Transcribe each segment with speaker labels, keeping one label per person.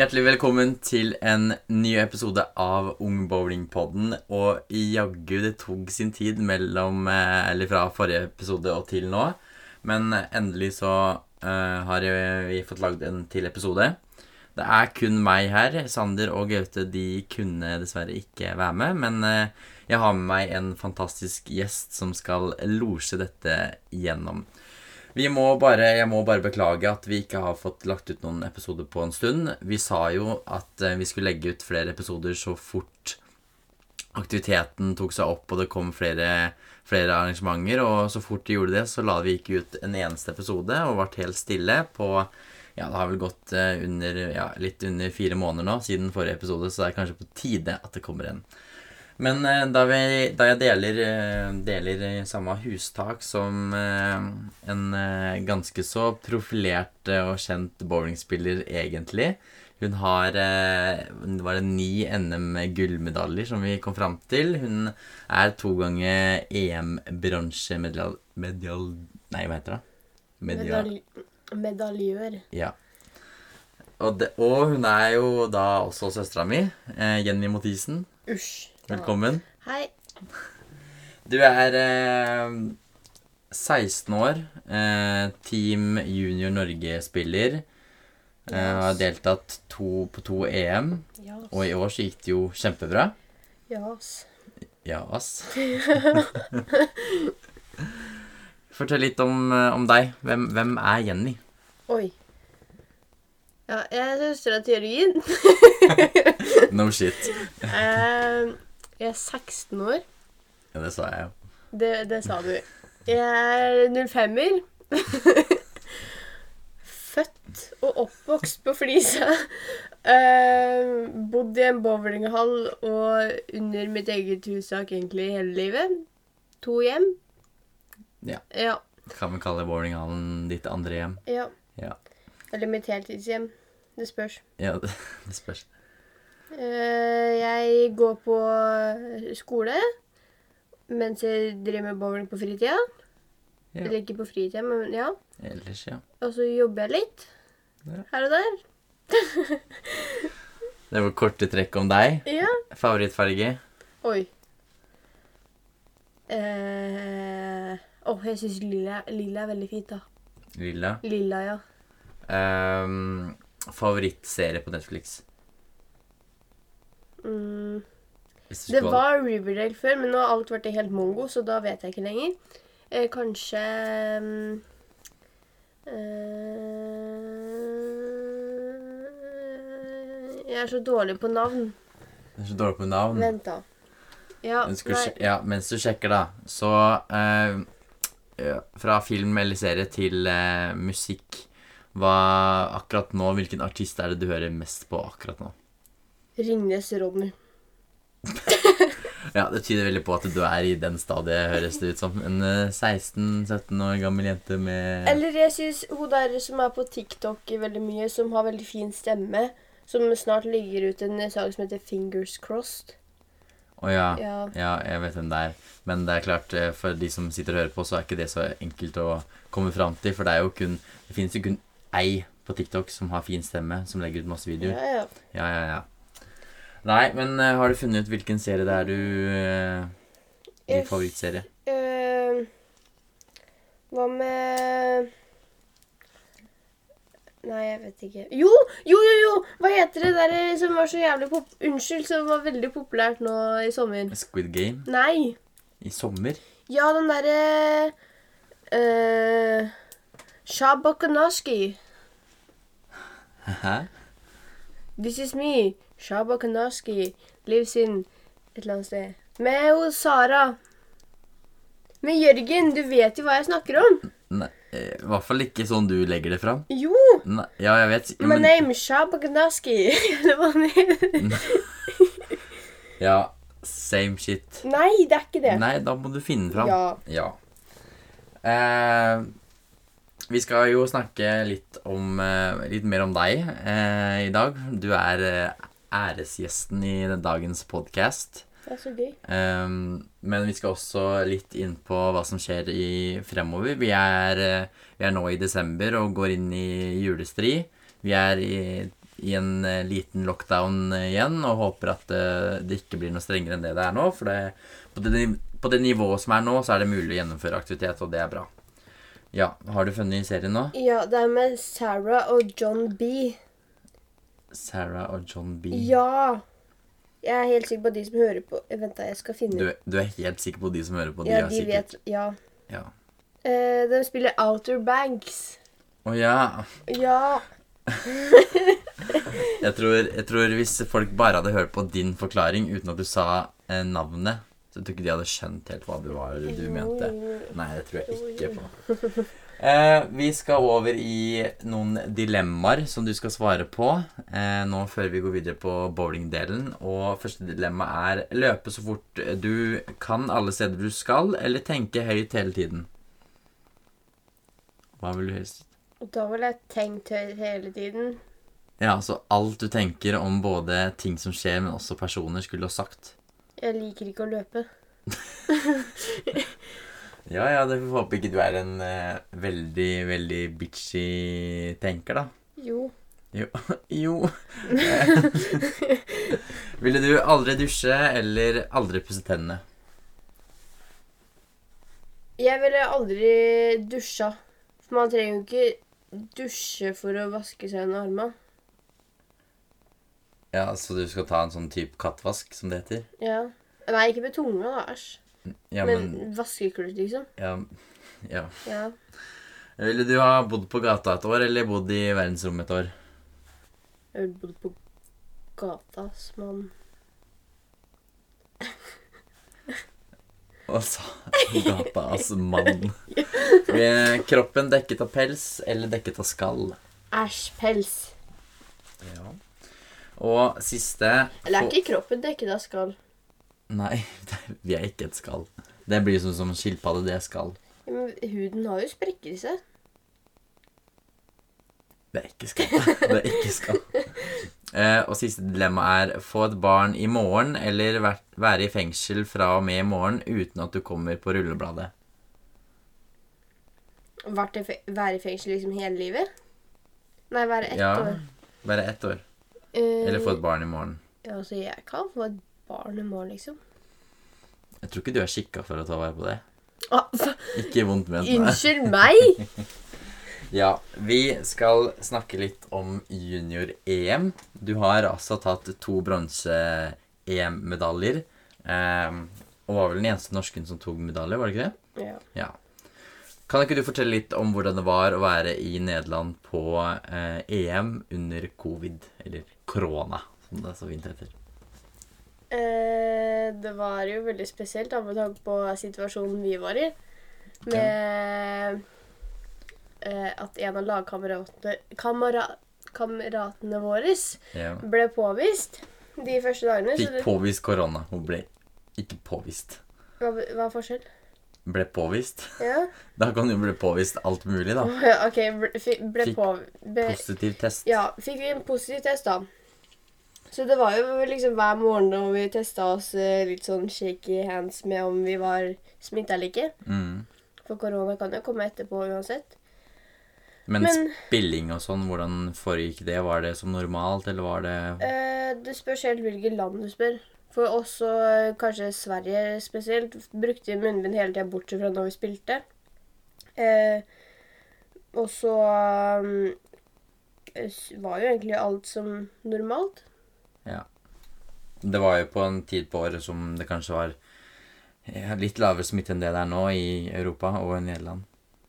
Speaker 1: Hjertelig velkommen til en ny episode av Ung Bowling-podden. Og jaggu det tok sin tid mellom eh, Eller fra forrige episode og til nå. Men endelig så eh, har vi fått lagd en til episode. Det er kun meg her. Sander og Gaute de kunne dessverre ikke være med. Men eh, jeg har med meg en fantastisk gjest som skal losje dette gjennom. Vi må bare, jeg må bare beklage at vi ikke har fått lagt ut noen episoder på en stund. Vi sa jo at eh, vi skulle legge ut flere episoder så fort aktiviteten tok seg opp og det kom flere, flere arrangementer. Og så fort de gjorde det, så la vi ikke ut en eneste episode og ble helt stille på ja, det har vel gått eh, under, ja, litt under fire måneder nå siden forrige episode, så det er kanskje på tide at det kommer en. Men eh, da, vi, da jeg deler, eh, deler eh, samme hustak som eh, en eh, ganske så profilert eh, og kjent bowlingspiller, egentlig Hun har eh, var det ni NM-gullmedaljer som vi kom fram til. Hun er to ganger E EM-bronsemedal... Medial... Nei, hva heter det? Medial...
Speaker 2: Medalj medaljør.
Speaker 1: Ja. Og, det, og hun er jo da også søstera mi, eh, Jenny Mathisen.
Speaker 2: Usj.
Speaker 1: Velkommen.
Speaker 2: Hei.
Speaker 1: Du er eh, 16 år, eh, Team Junior Norge-spiller. Eh, har deltatt to, på to EM,
Speaker 2: Jas.
Speaker 1: og i år så gikk det jo kjempebra.
Speaker 2: Jas.
Speaker 1: Ja, ass. Fortell litt om, eh, om deg. Hvem, hvem er Jenny?
Speaker 2: Oi. Ja, jeg er søstera til Jørgen.
Speaker 1: No shit.
Speaker 2: Eh, jeg er 16 år.
Speaker 1: Ja, det sa jeg jo.
Speaker 2: Det, det sa du. Jeg er 05-er. Født og oppvokst på Flisa. Eh, bodd i en bowlinghall og under mitt eget hustak egentlig hele livet. To hjem.
Speaker 1: Ja.
Speaker 2: Ja.
Speaker 1: Kan vi kalle bowlinghallen ditt andre hjem?
Speaker 2: ja.
Speaker 1: Ja.
Speaker 2: Eller mitt heltidshjem. Det spørs.
Speaker 1: Ja, det, det spørs.
Speaker 2: Eh, jeg går på eh, skole mens jeg driver med bowling på fritida.
Speaker 1: Ja.
Speaker 2: Eller ikke på fritida, men ja.
Speaker 1: Ellers, ja.
Speaker 2: Og så jobber jeg litt
Speaker 1: Ja.
Speaker 2: her og der.
Speaker 1: Det var korte trekk om deg.
Speaker 2: Ja.
Speaker 1: Favorittfarge?
Speaker 2: Oi. Eh, Åh, jeg syns lilla, lilla er veldig fint, da.
Speaker 1: Lilla.
Speaker 2: Lilla, ja.
Speaker 1: Ehm, favorittserie på Netflix?
Speaker 2: Mm.
Speaker 1: Hvis du
Speaker 2: Det
Speaker 1: skulle
Speaker 2: var Riverdale før, men nå har alt vært helt mongo, så da vet jeg ikke lenger. Eh, kanskje mm, eh, Jeg er så dårlig på navn.
Speaker 1: valgt- Det er så dårlig på navn.
Speaker 2: Vent, da. Ja,
Speaker 1: Men Mm. skulle
Speaker 2: nei,
Speaker 1: sje- ja, mens du sjekker, da, så ehm, ja, Fra film eller serie til eh, musikk. Hva akkurat nå, Hvilken artist er det du hører mest på akkurat nå?
Speaker 2: Ringnes Ronny.
Speaker 1: Ja, Det tyder veldig på at du er i den stadiet, høres det ut som. En eh, 16-17 år gammel jente med
Speaker 2: Eller jeg syns hun der som er på TikTok veldig mye, som har veldig fin stemme, som snart ligger ut en sang som heter Fingers Crossed.
Speaker 1: Å ja.
Speaker 2: Ja.
Speaker 1: Ja, jeg vet hvem det er. Men det er klart, eh, for de som sitter og hører på, så er ikke det så enkelt å komme fram til. For det er jo kun Det finnes jo kun ei på TikTok som har fin stemme, som legger ut masse
Speaker 2: Ja,
Speaker 1: videoer.
Speaker 2: ja.
Speaker 1: Ja, ja, ja. Nei, men eh, har du funnet ut hvilken serie det er du eh, Din
Speaker 2: Yes.
Speaker 1: favorittserie?
Speaker 2: Eh, hva med Nei, jeg vet ikke. Jo, jo, jo! jo! Hva heter det der eh, som var så jævlig pop... Unnskyld, som var veldig populært nå i sommer?
Speaker 1: Squid Game?
Speaker 2: Nei.
Speaker 1: I sommer?
Speaker 2: Ja, den eh, derre uh, Shabakanaski.
Speaker 1: Hæ?
Speaker 2: This is me. Shabakanaski lives in et eller annet sted. Med hos Sara. Med Jørgen. Du vet jo hva jeg snakker om.
Speaker 1: Nei, eh, i hvert fall ikke sånn du legger det fram.
Speaker 2: Jo!
Speaker 1: Nei, ja, jeg vet. Ja,
Speaker 2: My name is Shabaganaski. Eller hva han heter.
Speaker 1: Mm. ja, same shit.
Speaker 2: Nei, det er ikke det.
Speaker 1: Nei, da må du finne fram.
Speaker 2: Ja.
Speaker 1: Ja. Eh, vi skal jo snakke litt, om, eh, litt mer om deg eh, i dag. Du er eh, æresgjesten i den dagens podkast.
Speaker 2: Det er så gøy.
Speaker 1: Ehm, men vi skal også litt inn på hva som skjer i fremover. Vi er, eh, vi er nå i desember og går inn i julestri. Vi er i, i en eh, liten lockdown eh, igjen, og håper at eh, det ikke blir noe strengere enn det det er nå. For det, på, det, niv- på det nivået som er nå, så er det mulig å gjennomføre aktivitet, og det er bra. Ja, har du funnet serien nå?
Speaker 2: Ja, det er med Sarah og John B.
Speaker 1: Sarah og John B.
Speaker 2: Ja! Jeg er helt sikker på at de som hører på Eh, Vent, da, jeg skal finne
Speaker 1: Du, du er helt sikker på de som hører på?
Speaker 2: Ja,
Speaker 1: er
Speaker 2: de
Speaker 1: sikkert-
Speaker 2: vet Ja.
Speaker 1: Ja.
Speaker 2: Eh, de spiller Outer Banks.
Speaker 1: Å ja.
Speaker 2: Ja.
Speaker 1: Jeg tror, jeg tror hvis folk bare hadde hørt på din forklaring uten at du sa eh, navnet, så tror jeg ikke de hadde skjønt helt hva det var du mente. Nei, det tror jeg ikke på. Eh, vi skal over i noen dilemmaer som du skal svare på eh, nå før vi går videre på bowlingdelen. Og første dilemma er løpe så fort du kan alle steder du skal, eller tenke høyt hele tiden. Hva vil du helst?
Speaker 2: Og Da ville jeg tenkt høyt hele tiden.
Speaker 1: Ja, altså alt du tenker om både ting som skjer, men også personer, skulle du ha sagt.
Speaker 2: Jeg liker ikke å løpe.
Speaker 1: Ja, ja, det får håpe ikke du er en eh, veldig, veldig bitchy tenker, da.
Speaker 2: Jo.
Speaker 1: Jo. jo. Eh, Ville du aldri dusje eller aldri pusse tennene?
Speaker 2: Jeg ville aldri dusja. For man trenger jo ikke dusje for å vaske seg under armene.
Speaker 1: Ja, så du skal ta en sånn type kattvask, som det heter?
Speaker 2: Ja. Nei, ikke med tunga, da. Æsj.
Speaker 1: Ja,
Speaker 2: men
Speaker 1: men
Speaker 2: vaskeklut, liksom.
Speaker 1: ja, ja.
Speaker 2: Ja.
Speaker 1: Ville du ha bodd på gata et år eller bodd i verdensrommet et år?
Speaker 2: Jeg ville bodd på gata, ass, mann.
Speaker 1: Og sa gata, altså mann. Eh, Kroppen dekket av pels eller dekket av skall?
Speaker 2: Æsj, pels.
Speaker 1: Ja. Og siste
Speaker 2: Eller er ikke kroppen dekket av skall?
Speaker 1: Nei, det- vi er ikke et skall. Det blir sånn som en skilpadde, det er skall.
Speaker 2: Ja, men huden har jo sprekker i seg.
Speaker 1: Det er ikke skall. Det er ikke skall. Eh, og siste dilemma er få et barn i morgen eller vært- være i fengsel fra og med i morgen uten at du kommer på rullebladet.
Speaker 2: Vært i fe være i fengsel liksom hele livet? Nei, være ett
Speaker 1: Ja,
Speaker 2: år.
Speaker 1: Være ett år.
Speaker 2: Eh,
Speaker 1: Eller få et barn i morgen.
Speaker 2: ja, altså, jeg kan få et barn i morgen, liksom.
Speaker 1: Jeg tror ikke du er skikka for å ta vare på det.
Speaker 2: Ah, f-
Speaker 1: Ikke vondt ment. nei.
Speaker 2: unnskyld meg!
Speaker 1: Ja, vi skal snakke litt om junior-EM. Du har altså tatt to bronse-EM-medaljer. Um, og var vel den eneste norsken som tok medalje, var det ikke det?
Speaker 2: Ja.
Speaker 1: Ja. Kan ikke du fortelle litt om hvordan det var å være i Nederland på eh, EM under covid, eller korona, som det så fint heter?
Speaker 2: Eh, det var jo veldig spesielt da, med tanke på situasjonen vi var i. Med eh, at en av lagkameratene kamera, Kameratene våre
Speaker 1: Ja.
Speaker 2: ble påvist de første dagene. Så
Speaker 1: Fikk
Speaker 2: det,
Speaker 1: påvist korona. Hun ble ikke påvist.
Speaker 2: hva, hva er forskjell?
Speaker 1: Ble påvist.
Speaker 2: Ja.
Speaker 1: Da kan du bli påvist alt mulig, da.
Speaker 2: OK, ble, fi- ble
Speaker 1: Fikk
Speaker 2: på... Ble,
Speaker 1: Positiv test.
Speaker 2: Ja, fikk vi en positiv test da. Så det var jo liksom hver morgen når vi testa oss eh, litt sånn shaky hands med om vi var smitta eller ikke.
Speaker 1: Mm.
Speaker 2: For korona kan jo komme etterpå uansett.
Speaker 1: Men,
Speaker 2: Men-
Speaker 1: spilling og sånn, hvordan foregikk det? Var det som normalt, eller var det
Speaker 2: Eh, det spørs helt hvilket land du spør. For oss og eh, kanskje Sverige spesielt brukte vi munnbind hele tida bortsett fra når vi spilte. Eh, og så um, s- var jo egentlig alt som normalt.
Speaker 1: Ja. Det var jo på en tid på året som det kanskje var ja, litt lavere smitte enn det det er nå i Europa og i Nederland.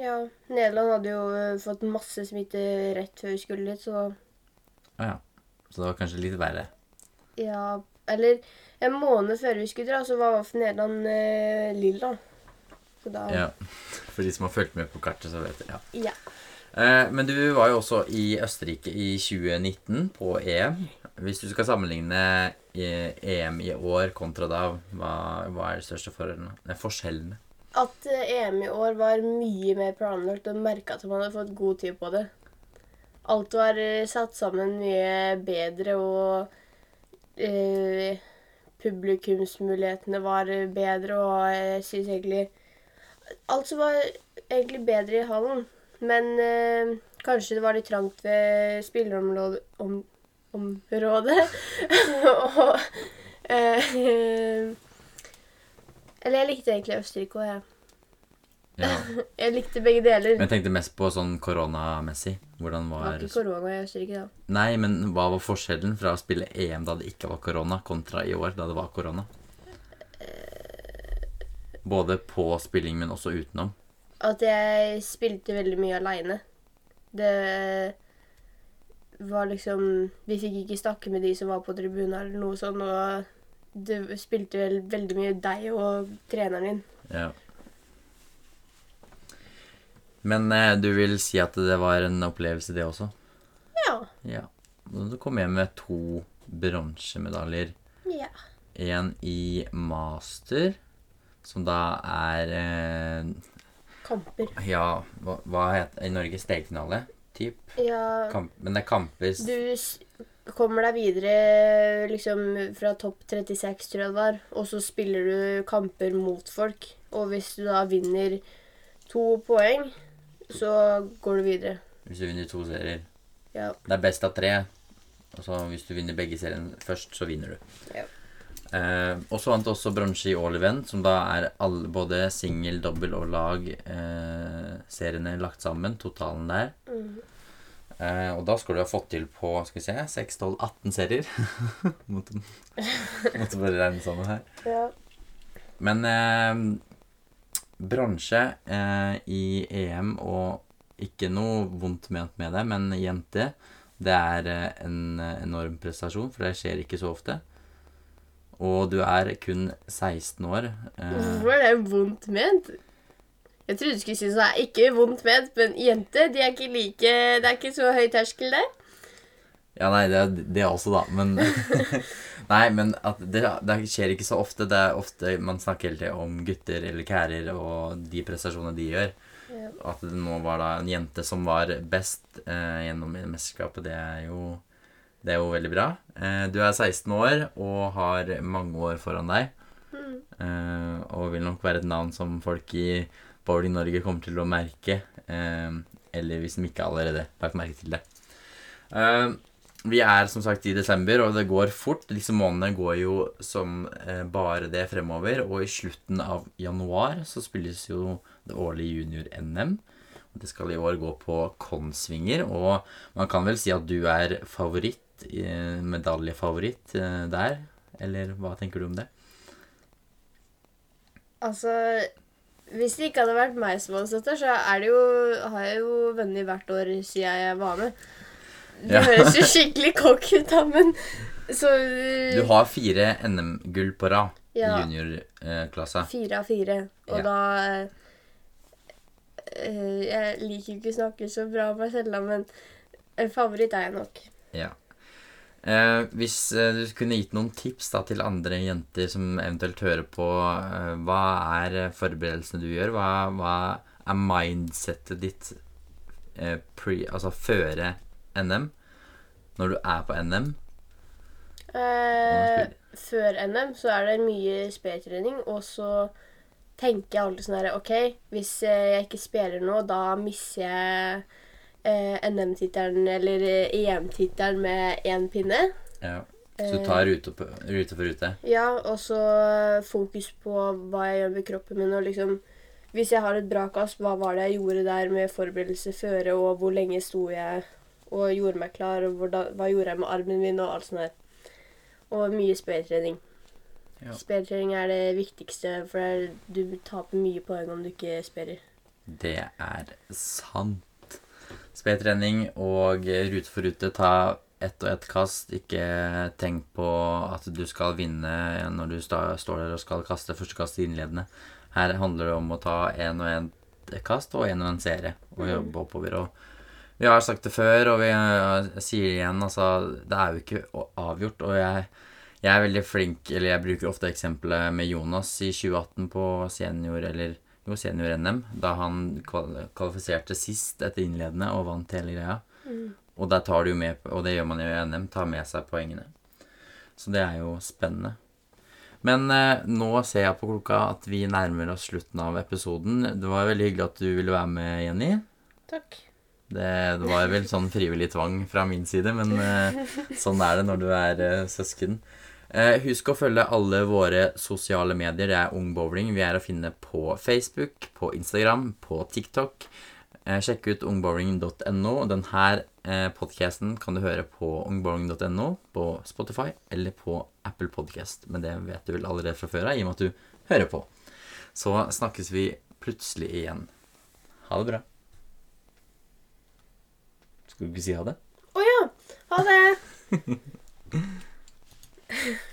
Speaker 2: Ja, Nederland hadde jo eh, fått masse smitte rett før vi skulle dit, så
Speaker 1: Å ja. Så det var kanskje litt verre.
Speaker 2: ja Eller en måned før vi skulle dra, så var i hvert fall Nederland eh, lilla. Så da
Speaker 1: Ja. For de som har fulgt med på kartet, så vet det. Ja.
Speaker 2: ja.
Speaker 1: Eh, Men du var jo også i Østerrike i 2019 på EM. Hvis du skal sammenligne eh, EM i år kontra da, hva, hva er de største forholdene? Nei, forskjellene?
Speaker 2: At eh, EM i år var mye mer planlagt, og merka at man hadde fått god tid på det. Alt var eh, satt sammen mye bedre, og eh, publikumsmulighetene var eh, bedre, og eh, jeg syns egentlig Alt som var egentlig bedre i hallen, men eh, kanskje det var litt trangt ved spillerområdet om, området. og eh, Eller jeg likte egentlig Østerrike òg, jeg.
Speaker 1: Ja.
Speaker 2: Jeg likte begge deler.
Speaker 1: Men jeg tenkte mest på sånn koronamessig. Hvordan
Speaker 2: det var
Speaker 1: var
Speaker 2: ikke korona i Østerrike, da.
Speaker 1: Nei, men hva var forskjellen fra å spille EM da det ikke var korona, kontra i år da det var korona? Både på spilling, men også utenom.
Speaker 2: At jeg spilte veldig mye aleine. Det var liksom Vi fikk ikke snakke med de som var på tribunen eller noe sånt, og det spilte vel veldig mye deg og treneren din.
Speaker 1: Ja. Men eh, du vil si at det var en opplevelse, det også?
Speaker 2: Ja.
Speaker 1: Ja. Du kom hjem med to bronsemedaljer.
Speaker 2: ja.
Speaker 1: Én i master, som da er eh,
Speaker 2: Kamper.
Speaker 1: Ja, hva, hva heter I Norge stegfinale? Typ.
Speaker 2: Ja.
Speaker 1: Kamp, men det er kamper s-
Speaker 2: Du s- kommer deg videre liksom fra topp 36, tror jeg det var, og så spiller du kamper mot folk. Og hvis du da vinner to poeng, så går du videre.
Speaker 1: hvis du vinner to serier.
Speaker 2: Ja.
Speaker 1: Det er best av tre. Og så hvis du vinner begge seriene først, så vinner du.
Speaker 2: Ja.
Speaker 1: Eh, og så vant du også bronse i all event, som da er alle, både singel, dobbel og lag eh, seriene lagt sammen. Totalen der.
Speaker 2: Mhm.
Speaker 1: Eh, og da skulle du ha fått til på skal vi se, 6, 12, 18 serier. måtte, måtte bare regne sammen her.
Speaker 2: ja.
Speaker 1: Men eh, bronse eh, i EM, og ikke noe vondt ment med det, men jente, det er eh, en enorm prestasjon, for det skjer ikke så ofte. Og du er kun 16 år. Eh,
Speaker 2: Hvorfor er det vondt ment? Jeg trodde du skulle synes det er ikke vondt ment, men jenter de er ikke like Det er ikke så høy terskel der.
Speaker 1: ja, nei, det, er- det er også, da, men Nei, men at det, det skjer ikke så ofte. Det er ofte man snakker hele tiden om gutter eller kærer og de prestasjonene de gjør.
Speaker 2: Ja.
Speaker 1: At det nå var da en jente som var best eh, gjennom mesterskapet, det er jo det er jo veldig bra. Eh, du er 16 år og har mange år foran deg. Eh, og vil nok være et navn som folk i Bowling Norge kommer til å merke. Eh, eller hvis de ikke allerede har lagt merke til det. Eh, vi er som sagt i desember, og det går fort. Disse månedene går jo som eh, bare det fremover. Og i slutten av januar så spilles jo det årlige junior-NM. Og Det skal i år gå på Konsvinger, og man kan vel si at du er favoritt, eh, medaljefavoritt eh, der. Eller hva tenker du om det?
Speaker 2: Altså Hvis det ikke hadde vært meg som hadde stått der, så er det jo, har jeg jo vunnet hvert år siden jeg var med. Det
Speaker 1: Ja.
Speaker 2: høres jo skikkelig cocky ut, da, men så
Speaker 1: Du har fire NM-gull på rad i
Speaker 2: Eh. Ja.
Speaker 1: juniorklassa.
Speaker 2: Fire av fire. Og
Speaker 1: Ja.
Speaker 2: da eh, Jeg liker jo ikke å snakke så bra om meg selv, da, men en favoritt er jeg nok.
Speaker 1: Ja. Eh, hvis eh, du kunne gitt noen tips da, til andre jenter som eventuelt hører på, eh, hva er eh, forberedelsene du gjør? Hva, hva er mindsettet ditt eh, pre, altså føre NM? Når du er på NM?
Speaker 2: Eh, før NM så er det mye spilltrening, og så tenker jeg alltid sånn her OK, hvis eh, jeg ikke spiller nå, da mister jeg eh, NM-tittelen eller eh, EM-tittelen med én pinne.
Speaker 1: Ja. Så du tar rute, på, rute for rute?
Speaker 2: Ja, og så eh, fokus på hva jeg gjør med kroppen min, og liksom Hvis jeg har et bra kast, hva var det jeg gjorde der med forberedelse føre, og hvor lenge sto jeg og gjorde meg klar, og hvordan, hva gjorde jeg med armen min, og alt sånt der. Og mye spilltrening.
Speaker 1: Ja.
Speaker 2: Spilltrening er det viktigste, for det er- du taper mye poeng om du ikke spiller.
Speaker 1: Det er sant. Spedtrening og rute for rute. Ta ett og ett kast. Ikke tenk på at du skal vinne når du sta- står der og skal kaste første kast i innledende. Her handler det om å ta én og én kast og én og én serie og jobbe oppover. og vi har sagt det før, og vi eh, sier det igjen, altså Det er jo ikke å- avgjort, og jeg jeg er veldig flink, eller jeg bruker ofte eksempelet med Jonas i 2018 på senior, eller jo, senior-NM, da han kval kvalifiserte sist etter innledende og vant hele greia. Og der tar du jo med, og det gjør man jo i NM, tar med seg poengene. Så det er jo spennende. Men eh, nå ser jeg på klokka at vi nærmer oss slutten av episoden. Det var veldig hyggelig at du ville være med, Jenny.
Speaker 2: Takk.
Speaker 1: Det, det var vel sånn frivillig tvang fra min side, men eh, sånn er det når du er eh, søsken. Eh, husk å følge alle våre sosiale medier. Det er Ung Bowling. Vi er å finne på Facebook, på Instagram, på TikTok. Eh, sjekk ut ungbowling.no. Denne eh, podkasten kan du høre på ungbowling.no, på Spotify eller på Apple Podcast. Men det vet du vel allerede fra før av, i og med at du hører på. Så snakkes vi plutselig igjen. Ha det bra. Skal du ikke si ha det?
Speaker 2: Å ja! Ha det!